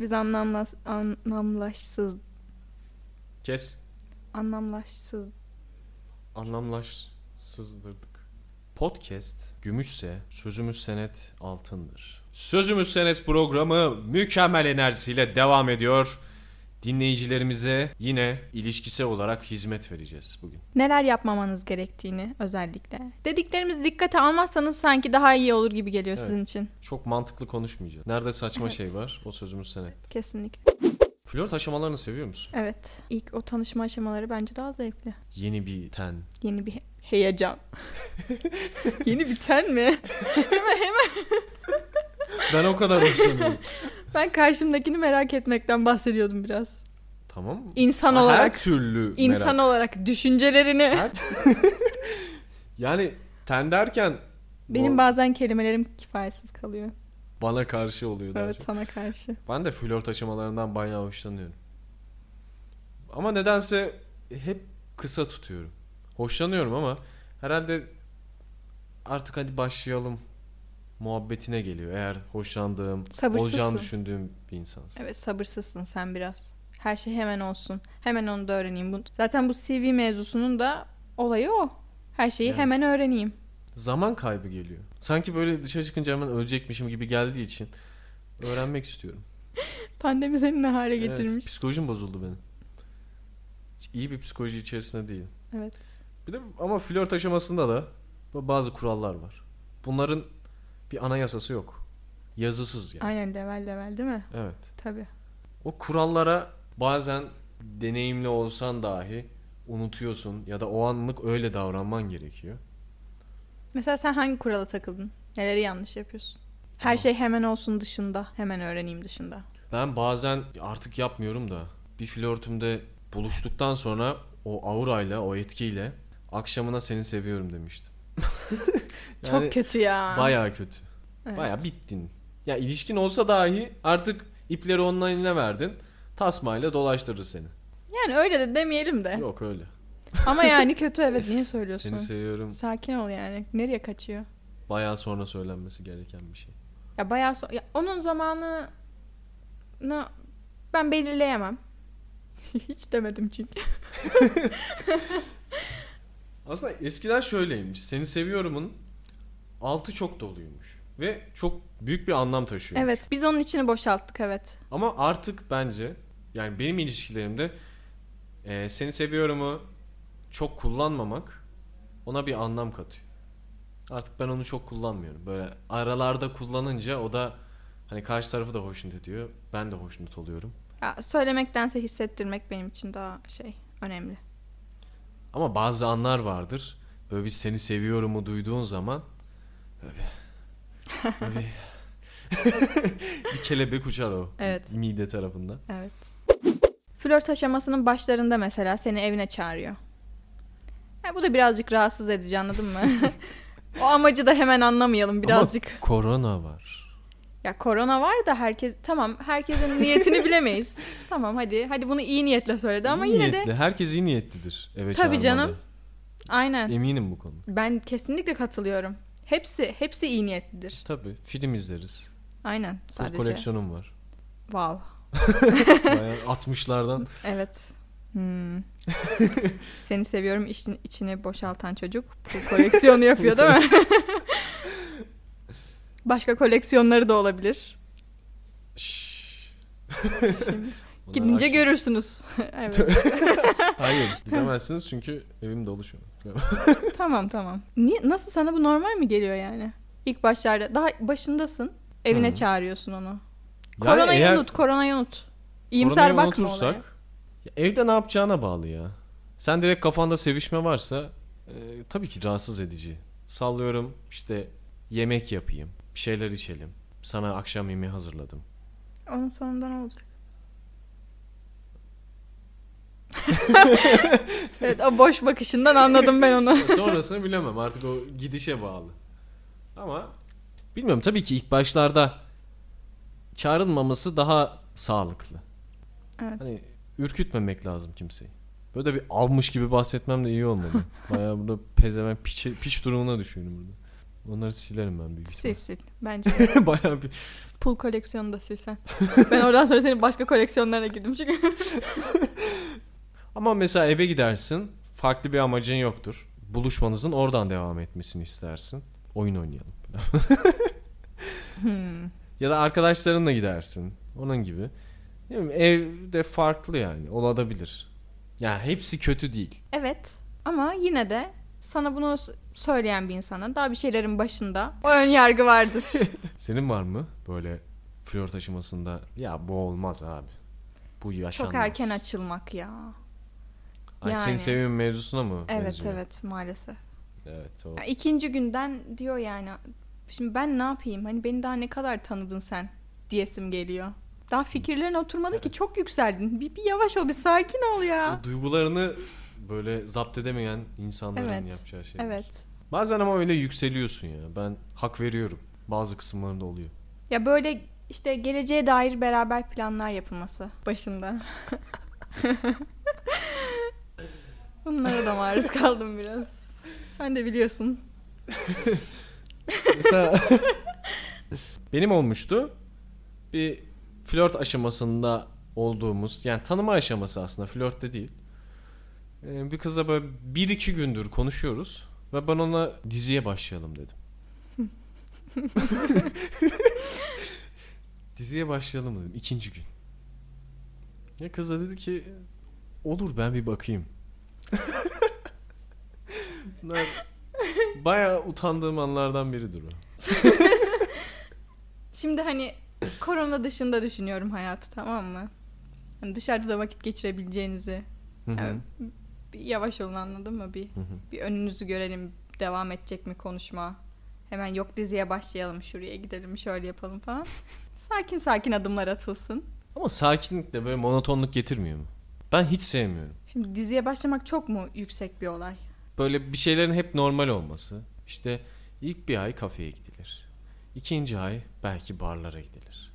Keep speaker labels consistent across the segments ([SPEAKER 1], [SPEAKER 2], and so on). [SPEAKER 1] biz anlamlas, anlamlaşsız
[SPEAKER 2] Kes.
[SPEAKER 1] anlamlaşsız
[SPEAKER 2] Anlamlaşsızdırdık. Podcast gümüşse sözümüz senet altındır. Sözümüz senet programı mükemmel enerjisiyle devam ediyor. Dinleyicilerimize yine ilişkisel olarak hizmet vereceğiz bugün.
[SPEAKER 1] neler yapmamanız gerektiğini özellikle. Dediklerimiz dikkate almazsanız sanki daha iyi olur gibi geliyor
[SPEAKER 2] Evet.
[SPEAKER 1] sizin için.
[SPEAKER 2] Çok mantıklı konuşmayacağız. Nerede saçma
[SPEAKER 1] Evet.
[SPEAKER 2] şey var o sözümüz senet.
[SPEAKER 1] Kesinlikle.
[SPEAKER 2] Flört aşamalarını seviyor musun?
[SPEAKER 1] Evet. İlk o tanışma aşamaları bence daha zevkli.
[SPEAKER 2] Yeni bir ten.
[SPEAKER 1] Yeni bir he- heyecan. Yeni bir ten mi? hemen hemen
[SPEAKER 2] Ben o kadar hoşlanıyorum.
[SPEAKER 1] ben karşımdakini merak etmekten bahsediyordum biraz.
[SPEAKER 2] tamam mı?
[SPEAKER 1] İnsan
[SPEAKER 2] Her
[SPEAKER 1] olarak
[SPEAKER 2] türlü
[SPEAKER 1] insan
[SPEAKER 2] merak.
[SPEAKER 1] olarak düşüncelerini
[SPEAKER 2] Her- Yani ten derken
[SPEAKER 1] benim
[SPEAKER 2] bu-
[SPEAKER 1] bazen kelimelerim kifayetsiz kalıyor.
[SPEAKER 2] bana karşı oluyor daha
[SPEAKER 1] Evet
[SPEAKER 2] çok.
[SPEAKER 1] sana karşı.
[SPEAKER 2] Ben de flört aşamalarından bayağı hoşlanıyorum. Ama nedense hep kısa tutuyorum. Hoşlanıyorum ama herhalde artık hadi başlayalım muhabbetine geliyor. Eğer hoşlandığım, olacağını
[SPEAKER 1] Sabırsızsın.
[SPEAKER 2] düşündüğüm bir insansın.
[SPEAKER 1] Evet sabırsızsın sen biraz. Her şey hemen olsun. Hemen onu da öğreneyim. Bu, zaten bu CV mevzusunun da olayı o. Her şeyi
[SPEAKER 2] Evet.
[SPEAKER 1] hemen öğreneyim.
[SPEAKER 2] Zaman kaybı geliyor. Sanki böyle dışarı çıkınca hemen ölecekmişim gibi geldiği için öğrenmek istiyorum.
[SPEAKER 1] Pandemi seni ne hale
[SPEAKER 2] Evet,
[SPEAKER 1] getirmiş.
[SPEAKER 2] psikolojim bozuldu benim. Hiç İyi bir psikoloji içerisinde değilim.
[SPEAKER 1] Evet.
[SPEAKER 2] Bir de ama flört aşamasında da bazı kurallar var. Bunların bir anayasası yok. Yazısız yani.
[SPEAKER 1] Aynen level level değil mi?
[SPEAKER 2] Evet.
[SPEAKER 1] Tabii.
[SPEAKER 2] O kurallara bazen deneyimli olsan dahi unutuyorsun ya da o anlık öyle davranman gerekiyor.
[SPEAKER 1] Mesela sen hangi kurala takıldın? Neleri yanlış yapıyorsun? Her
[SPEAKER 2] Tamam.
[SPEAKER 1] şey hemen olsun dışında. Hemen öğreneyim dışında.
[SPEAKER 2] Ben bazen artık yapmıyorum da bir flörtümde buluştuktan sonra o aurayla, o etkiyle akşamına seni seviyorum demiştim. Yani
[SPEAKER 1] Çok kötü ya.
[SPEAKER 2] Bayağı kötü.
[SPEAKER 1] Evet.
[SPEAKER 2] Baya bittin. Ya ilişkin olsa dahi artık ipleri onun eline verdin. Tasmayla dolaştırır seni.
[SPEAKER 1] Yani öyle de demeyelim de.
[SPEAKER 2] Yok öyle.
[SPEAKER 1] Ama yani kötü evet niye söylüyorsun?
[SPEAKER 2] Seni seviyorum.
[SPEAKER 1] Sakin ol yani. Nereye kaçıyor?
[SPEAKER 2] Baya sonra söylenmesi gereken bir şey.
[SPEAKER 1] Ya bayağı so- ya onun zamanını ben belirleyemem. Hiç demedim çünkü.
[SPEAKER 2] Aslında eskiden şöyleymiş. Seni seviyorumun altı çok doluymuş. Ve çok büyük bir anlam taşıyor.
[SPEAKER 1] Evet, biz onun içini boşalttık evet.
[SPEAKER 2] Ama artık bence yani benim ilişkilerimde e, seni seviyorumu çok kullanmamak ona bir anlam katıyor. Artık ben onu çok kullanmıyorum. Böyle aralarda kullanınca o da hani karşı tarafı da hoşnut ediyor. Ben de hoşnut oluyorum.
[SPEAKER 1] Ya, söylemektense hissettirmek benim için daha şey önemli.
[SPEAKER 2] Ama bazı anlar vardır. Böyle bir seni seviyorumu duyduğun zaman böyle bir- böyle bir- bir kelebek uçar o
[SPEAKER 1] Evet.
[SPEAKER 2] mide tarafında.
[SPEAKER 1] Evet. Flört aşamasının başlarında mesela seni evine çağırıyor. Ya, bu da birazcık rahatsız edici anladın mı? o amacı da hemen anlamayalım birazcık.
[SPEAKER 2] Korona var.
[SPEAKER 1] Ya korona var da herkes tamam herkesin niyetini bilemeyiz. Tamam hadi hadi bunu iyi niyetle söyledi ama
[SPEAKER 2] İyi
[SPEAKER 1] yine de
[SPEAKER 2] niyetli. herkes iyi niyetlidir eve
[SPEAKER 1] Tabii
[SPEAKER 2] çağırmada.
[SPEAKER 1] canım. Aynen.
[SPEAKER 2] Eminim bu konuda.
[SPEAKER 1] Ben kesinlikle katılıyorum. Hepsi hepsi iyi niyetlidir.
[SPEAKER 2] Tabii film izleriz.
[SPEAKER 1] Aynen
[SPEAKER 2] Sadece.
[SPEAKER 1] sadece.
[SPEAKER 2] koleksiyonum var.
[SPEAKER 1] Wow.
[SPEAKER 2] Bayağı 60'lardan.
[SPEAKER 1] Evet. Hmm. Seni seviyorum işin içini boşaltan çocuk. Bu koleksiyonu yapıyor değil mi? Başka koleksiyonları da olabilir.
[SPEAKER 2] Şşş.
[SPEAKER 1] Şimdi
[SPEAKER 2] Bunlar
[SPEAKER 1] gidince
[SPEAKER 2] aşk-
[SPEAKER 1] görürsünüz. evet.
[SPEAKER 2] Hayır gidemezsiniz çünkü evim dolu şu an.
[SPEAKER 1] tamam tamam. Niye, nasıl sana bu normal mi geliyor yani? İlk başlarda daha başındasın. Evine
[SPEAKER 2] Hı.
[SPEAKER 1] çağırıyorsun onu.
[SPEAKER 2] Yani
[SPEAKER 1] koronayı
[SPEAKER 2] eğer
[SPEAKER 1] unut, koronayı unut. İyimser
[SPEAKER 2] koronayı
[SPEAKER 1] bakma
[SPEAKER 2] unutursak,
[SPEAKER 1] olaya.
[SPEAKER 2] ya evde ne yapacağına bağlı ya. Sen direkt kafanda sevişme varsa e, tabii ki rahatsız edici. Sallıyorum işte yemek yapayım, bir şeyler içelim. Sana akşam yemeği hazırladım.
[SPEAKER 1] Onun sonunda ne olacak? evet o boş bakışından anladım ben onu.
[SPEAKER 2] Ya E, Sonrasını bilemem artık o gidişe bağlı. Ama bilmiyorum tabii ki ilk başlarda çağrılmaması daha sağlıklı.
[SPEAKER 1] Evet.
[SPEAKER 2] Hani ürkütmemek lazım kimseyi. Böyle bir almış gibi bahsetmem de iyi olmadı. Bayağı burada pezeven piç, piç durumuna düşüyorum burada. Onları silerim ben büyük
[SPEAKER 1] Sil
[SPEAKER 2] ihtimalle.
[SPEAKER 1] sil. Bence
[SPEAKER 2] Bayağı bir
[SPEAKER 1] pul koleksiyonu da silsen. ben oradan sonra senin başka koleksiyonlarına girdim çünkü.
[SPEAKER 2] Ama mesela eve gidersin. Farklı bir amacın yoktur. Buluşmanızın oradan devam etmesini istersin. Oyun oynayalım.
[SPEAKER 1] Hmm.
[SPEAKER 2] Ya da arkadaşlarınla gidersin. Onun gibi. Değil mi? Evde farklı yani. Olabilir. Ya hepsi kötü değil.
[SPEAKER 1] Evet ama yine de sana bunu s- söyleyen bir insana daha bir şeylerin başında o ön yargı vardır.
[SPEAKER 2] Senin var mı böyle flört aşamasında ya bu olmaz abi. Bu yaşanmaz.
[SPEAKER 1] Çok erken açılmak ya.
[SPEAKER 2] Ay
[SPEAKER 1] yani.
[SPEAKER 2] seni seviyorum mevzusuna mı?
[SPEAKER 1] Evet
[SPEAKER 2] benziyor?
[SPEAKER 1] evet maalesef.
[SPEAKER 2] Evet o.
[SPEAKER 1] Ya ikinci günden diyor yani şimdi ben ne yapayım hani beni daha ne kadar tanıdın sen diyesim geliyor. Daha fikirlerin oturmadı ki çok yükseldin. Bir, bir yavaş ol bir sakin ol ya.
[SPEAKER 2] O duygularını böyle zapt edemeyen insanların
[SPEAKER 1] Evet,
[SPEAKER 2] yapacağı şey.
[SPEAKER 1] Evet.
[SPEAKER 2] Bazen ama öyle yükseliyorsun ya. Ben hak veriyorum. Bazı kısımlarında oluyor.
[SPEAKER 1] Ya böyle işte geleceğe dair beraber planlar yapılması başında. Bunlara da maruz kaldım biraz. Sen de biliyorsun.
[SPEAKER 2] Mesela benim olmuştu. Bir flört aşamasında olduğumuz yani tanıma aşaması aslında flört de değil. Ee, Bir kızla böyle bir iki gündür konuşuyoruz ve ben ona diziye başlayalım dedim. diziye başlayalım dedim ikinci gün. Ya kız da dedi ki olur ben bir bakayım. Bunlar bayağı utandığım anlardan biridir o.
[SPEAKER 1] Şimdi hani korona dışında düşünüyorum hayatı tamam mı? Hani dışarıda da vakit geçirebileceğinizi.
[SPEAKER 2] Hı hı.
[SPEAKER 1] Evet. Bir yavaş olun anladın mı? Bir,
[SPEAKER 2] Hı hı.
[SPEAKER 1] bir önünüzü görelim. Devam edecek mi konuşma? Hemen yok diziye başlayalım, şuraya gidelim, şöyle yapalım falan. Sakin sakin adımlar atılsın.
[SPEAKER 2] Ama sakinlik de böyle monotonluk getirmiyor mu? Ben hiç sevmiyorum.
[SPEAKER 1] Şimdi diziye başlamak çok mu yüksek bir olay?
[SPEAKER 2] Böyle bir şeylerin hep normal olması. İşte ilk bir ay kafeye gidilir. İkinci ay belki barlara gidilir.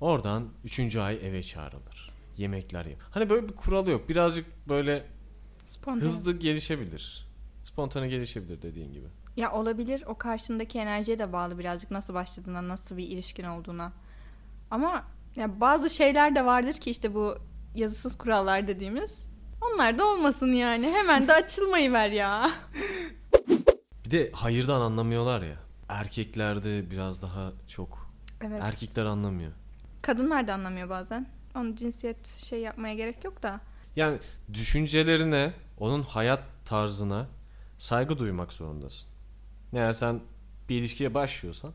[SPEAKER 2] Oradan üçüncü ay eve çağrılır. Yemekler yap. Hani böyle bir kuralı yok. Birazcık böyle
[SPEAKER 1] Spontane.
[SPEAKER 2] hızlı gelişebilir. Spontane gelişebilir dediğin gibi.
[SPEAKER 1] Ya olabilir. O karşındaki enerjiye de bağlı birazcık nasıl başladığına, nasıl bir ilişkin olduğuna. Ama ya bazı şeyler de vardır ki işte bu yazısız kurallar dediğimiz. Onlar da olmasın yani. Hemen de açılmayıver ya.
[SPEAKER 2] Bir de hayırdan anlamıyorlar ya. Erkeklerde biraz daha çok.
[SPEAKER 1] Evet.
[SPEAKER 2] Erkekler anlamıyor.
[SPEAKER 1] Kadınlar da anlamıyor bazen. Onun cinsiyet şey yapmaya gerek yok da.
[SPEAKER 2] Yani düşüncelerine, onun hayat tarzına saygı duymak zorundasın. Eğer sen bir ilişkiye başlıyorsan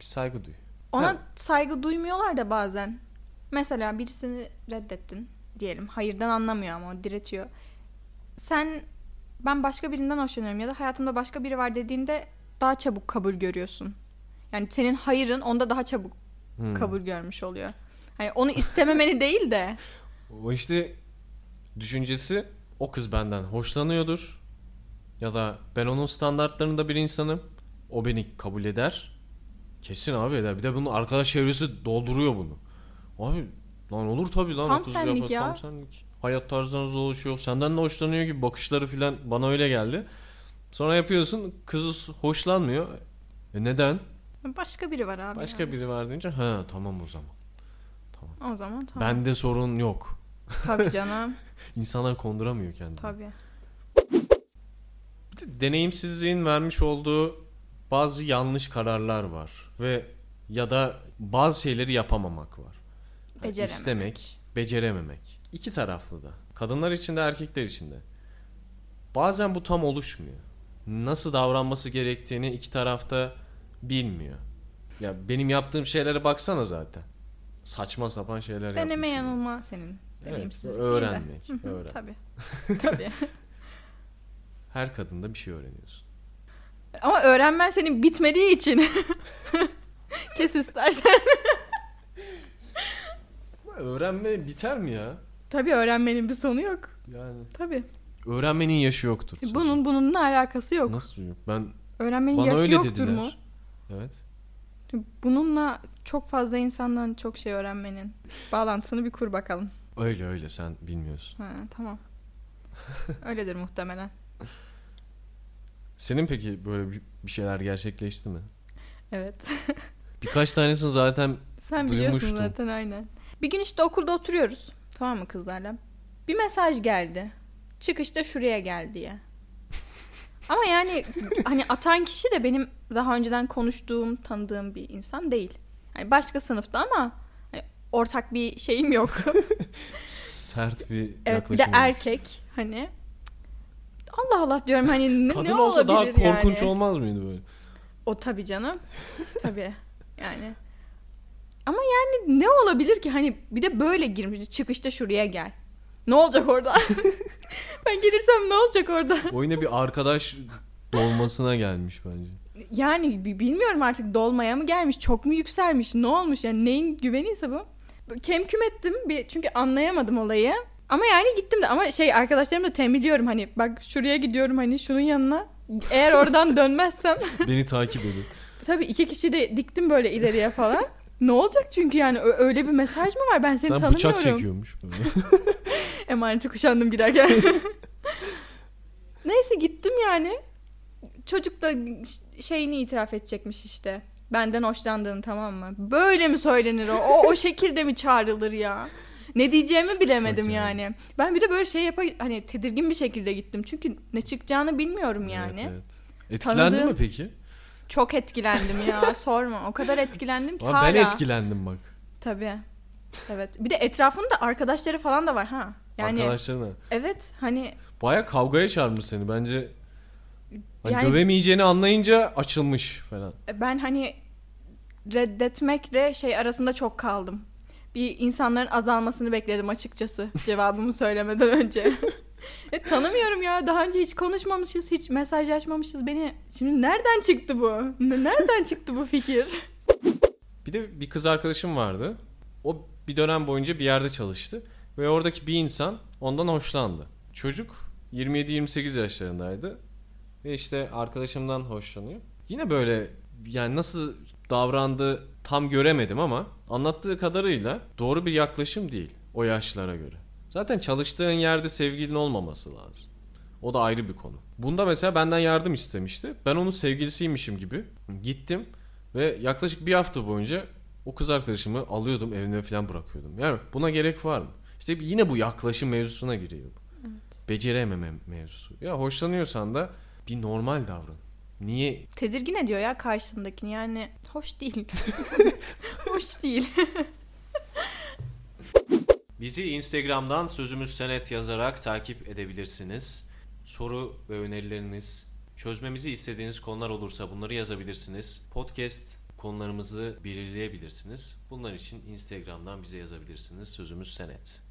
[SPEAKER 2] bir saygı duy.
[SPEAKER 1] Ona
[SPEAKER 2] Ha.
[SPEAKER 1] saygı duymuyorlar da bazen. Mesela birisini reddettin diyelim. Hayırdan anlamıyor ama o diretiyor. Sen ben başka birinden hoşlanıyorum ya da hayatımda başka biri var dediğinde daha çabuk kabul görüyorsun. Yani senin hayırın onda daha çabuk
[SPEAKER 2] Hmm.
[SPEAKER 1] kabul görmüş oluyor. Hani onu istememeni değil de
[SPEAKER 2] O işte düşüncesi o kız benden hoşlanıyordur. Ya da ben onun standartlarında bir insanım. O beni kabul eder. Kesin abi eder. Bir de bunun arkadaş çevresi dolduruyor bunu. Abi lan olur tabii lan.
[SPEAKER 1] Tam
[SPEAKER 2] o kız
[SPEAKER 1] senlik ya.
[SPEAKER 2] Tam senlik. Hayat tarzlarınız oluşuyor. Senden de hoşlanıyor gibi bakışları filan bana öyle geldi. Sonra yapıyorsun kız hoşlanmıyor. E neden?
[SPEAKER 1] başka biri var abi.
[SPEAKER 2] Başka
[SPEAKER 1] yani.
[SPEAKER 2] biri var deyince ha tamam o zaman.
[SPEAKER 1] O zaman tamam.
[SPEAKER 2] Bende sorun yok.
[SPEAKER 1] Tabii canım.
[SPEAKER 2] İnsanlar konduramıyor kendini.
[SPEAKER 1] Tabii.
[SPEAKER 2] deneyimsizliğin vermiş olduğu bazı yanlış kararlar var ve ya da bazı şeyleri yapamamak var. Yani
[SPEAKER 1] Becerememek.
[SPEAKER 2] İstemek, becerememek. İki taraflı da. Kadınlar için de erkekler için de. Bazen bu tam oluşmuyor. Nasıl davranması gerektiğini iki tarafta bilmiyor. Ya benim yaptığım şeylere baksana zaten. Saçma sapan şeyler
[SPEAKER 1] Deneme
[SPEAKER 2] yapmışım.
[SPEAKER 1] yanılma senin.
[SPEAKER 2] Evet,
[SPEAKER 1] Deneyimsizlik
[SPEAKER 2] öğrenmek,
[SPEAKER 1] değil de. Hı hı,
[SPEAKER 2] öğren.
[SPEAKER 1] Tabii. Tabii.
[SPEAKER 2] Her kadında bir şey öğreniyorsun.
[SPEAKER 1] Ama öğrenmen senin bitmediği için. Kes istersen.
[SPEAKER 2] Öğrenme biter mi ya?
[SPEAKER 1] Tabii öğrenmenin bir sonu yok.
[SPEAKER 2] Yani
[SPEAKER 1] Tabii.
[SPEAKER 2] öğrenmenin yaşı yoktur.
[SPEAKER 1] Şimdi bunun bununla alakası yok.
[SPEAKER 2] Nasıl yok? Ben
[SPEAKER 1] Öğrenmenin
[SPEAKER 2] bana
[SPEAKER 1] yaşı
[SPEAKER 2] öyle
[SPEAKER 1] yoktur
[SPEAKER 2] dediler.
[SPEAKER 1] mu?
[SPEAKER 2] Evet.
[SPEAKER 1] Şimdi Bununla çok fazla insandan çok şey öğrenmenin bağlantısını bir kur bakalım.
[SPEAKER 2] Öyle öyle sen bilmiyorsun.
[SPEAKER 1] Ha, tamam. Öyledir muhtemelen.
[SPEAKER 2] Senin peki böyle bir Bir şeyler gerçekleşti mi?
[SPEAKER 1] Evet.
[SPEAKER 2] Birkaç tanesini zaten
[SPEAKER 1] Sen biliyorsun
[SPEAKER 2] Duymuştum.
[SPEAKER 1] zaten aynen. Bir gün işte okulda oturuyoruz. Tamam mı kızlarla? Bir mesaj geldi. Çıkışta şuraya gel diye. Ama yani hani atan kişi de benim daha önceden konuştuğum, tanıdığım bir insan değil. Hani başka sınıfta ama hani ortak bir şeyim yok.
[SPEAKER 2] sert bir
[SPEAKER 1] evet,
[SPEAKER 2] yaklaşım.
[SPEAKER 1] bir de
[SPEAKER 2] olmuş.
[SPEAKER 1] erkek hani. Allah Allah diyorum hani ne,
[SPEAKER 2] Kadın
[SPEAKER 1] ne
[SPEAKER 2] olsa
[SPEAKER 1] olabilir
[SPEAKER 2] daha korkunç
[SPEAKER 1] yani?
[SPEAKER 2] olmaz mıydı böyle?
[SPEAKER 1] O tabii canım. tabii. Yani. Ama yani ne olabilir ki hani bir de böyle girmiş çıkışta şuraya gel. Ne olacak orada? ben gelirsem ne olacak orada?
[SPEAKER 2] O yine bir arkadaş dolmasına gelmiş bence.
[SPEAKER 1] Yani bi- bilmiyorum artık dolmaya mı gelmiş, çok mu yükselmiş, ne olmuş yani neyin güveniyse bu. Kemküm ettim bir çünkü anlayamadım olayı. Ama yani gittim de ama şey arkadaşlarım da tembihliyorum hani bak şuraya gidiyorum hani şunun yanına. Eğer oradan dönmezsem
[SPEAKER 2] Beni takip edin.
[SPEAKER 1] Tabii iki kişi de diktim böyle ileriye falan. ne olacak çünkü yani ö- öyle bir mesaj mı var ben seni
[SPEAKER 2] Sen
[SPEAKER 1] tanımıyorum.
[SPEAKER 2] bıçak çekiyormuş. böyle.
[SPEAKER 1] Emaneti kuşandım giderken. Neyse gittim yani. Çocuk da ş- şeyini itiraf edecekmiş işte. Benden hoşlandığını tamam mı? Böyle mi söylenir o? O, o şekilde mi çağrılır ya? Ne diyeceğimi bilemedim
[SPEAKER 2] Şok yani.
[SPEAKER 1] yani. Ben bir de böyle şey yapa hani tedirgin bir şekilde gittim. Çünkü ne çıkacağını bilmiyorum yani.
[SPEAKER 2] Evet, evet. Etkilendi
[SPEAKER 1] Tanıdığım-
[SPEAKER 2] mi peki?
[SPEAKER 1] Çok etkilendim ya sorma. O kadar etkilendim ki
[SPEAKER 2] Abi
[SPEAKER 1] hala.
[SPEAKER 2] ben etkilendim bak.
[SPEAKER 1] Tabii. Evet. Bir de etrafında arkadaşları falan da var ha. Yani
[SPEAKER 2] Arkadaşlarına.
[SPEAKER 1] evet hani
[SPEAKER 2] Baya kavgaya çağırmış seni bence. Hani
[SPEAKER 1] Yani-
[SPEAKER 2] dövemeyeceğini anlayınca açılmış falan.
[SPEAKER 1] ben hani reddetmekle şey arasında çok kaldım. Bir insanların azalmasını bekledim açıkçası cevabımı söylemeden önce. e, tanımıyorum ya daha önce hiç konuşmamışız, hiç mesajlaşmamışız. Beni şimdi nereden çıktı bu? Ne- Nereden çıktı bu fikir?
[SPEAKER 2] Bir de bir kız arkadaşım vardı. O bir dönem boyunca bir yerde çalıştı. Ve oradaki bir insan ondan hoşlandı. Çocuk 27-28 yaşlarındaydı. Ve işte arkadaşımdan hoşlanıyor. Yine böyle yani nasıl davrandı tam göremedim ama anlattığı kadarıyla doğru bir yaklaşım değil o yaşlara göre. Zaten çalıştığın yerde sevgilin olmaması lazım. O da ayrı bir konu. Bunda mesela benden yardım istemişti. Ben onun sevgilisiymişim gibi gittim ve yaklaşık bir hafta boyunca o kız arkadaşımı alıyordum evine falan bırakıyordum. Yani buna gerek var mı? İşte yine bu yaklaşım mevzusuna giriyor. Becerememe mevzusu. Ya hoşlanıyorsan da bir normal davran. Niye?
[SPEAKER 1] Tedirgin ediyor ya karşındakini yani hoş değil. hoş değil.
[SPEAKER 2] Bizi Instagram'dan sözümüz senet yazarak takip edebilirsiniz. Soru ve önerileriniz, çözmemizi istediğiniz konular olursa bunları yazabilirsiniz. Podcast konularımızı belirleyebilirsiniz. Bunlar için Instagram'dan bize yazabilirsiniz. Sözümüz senet.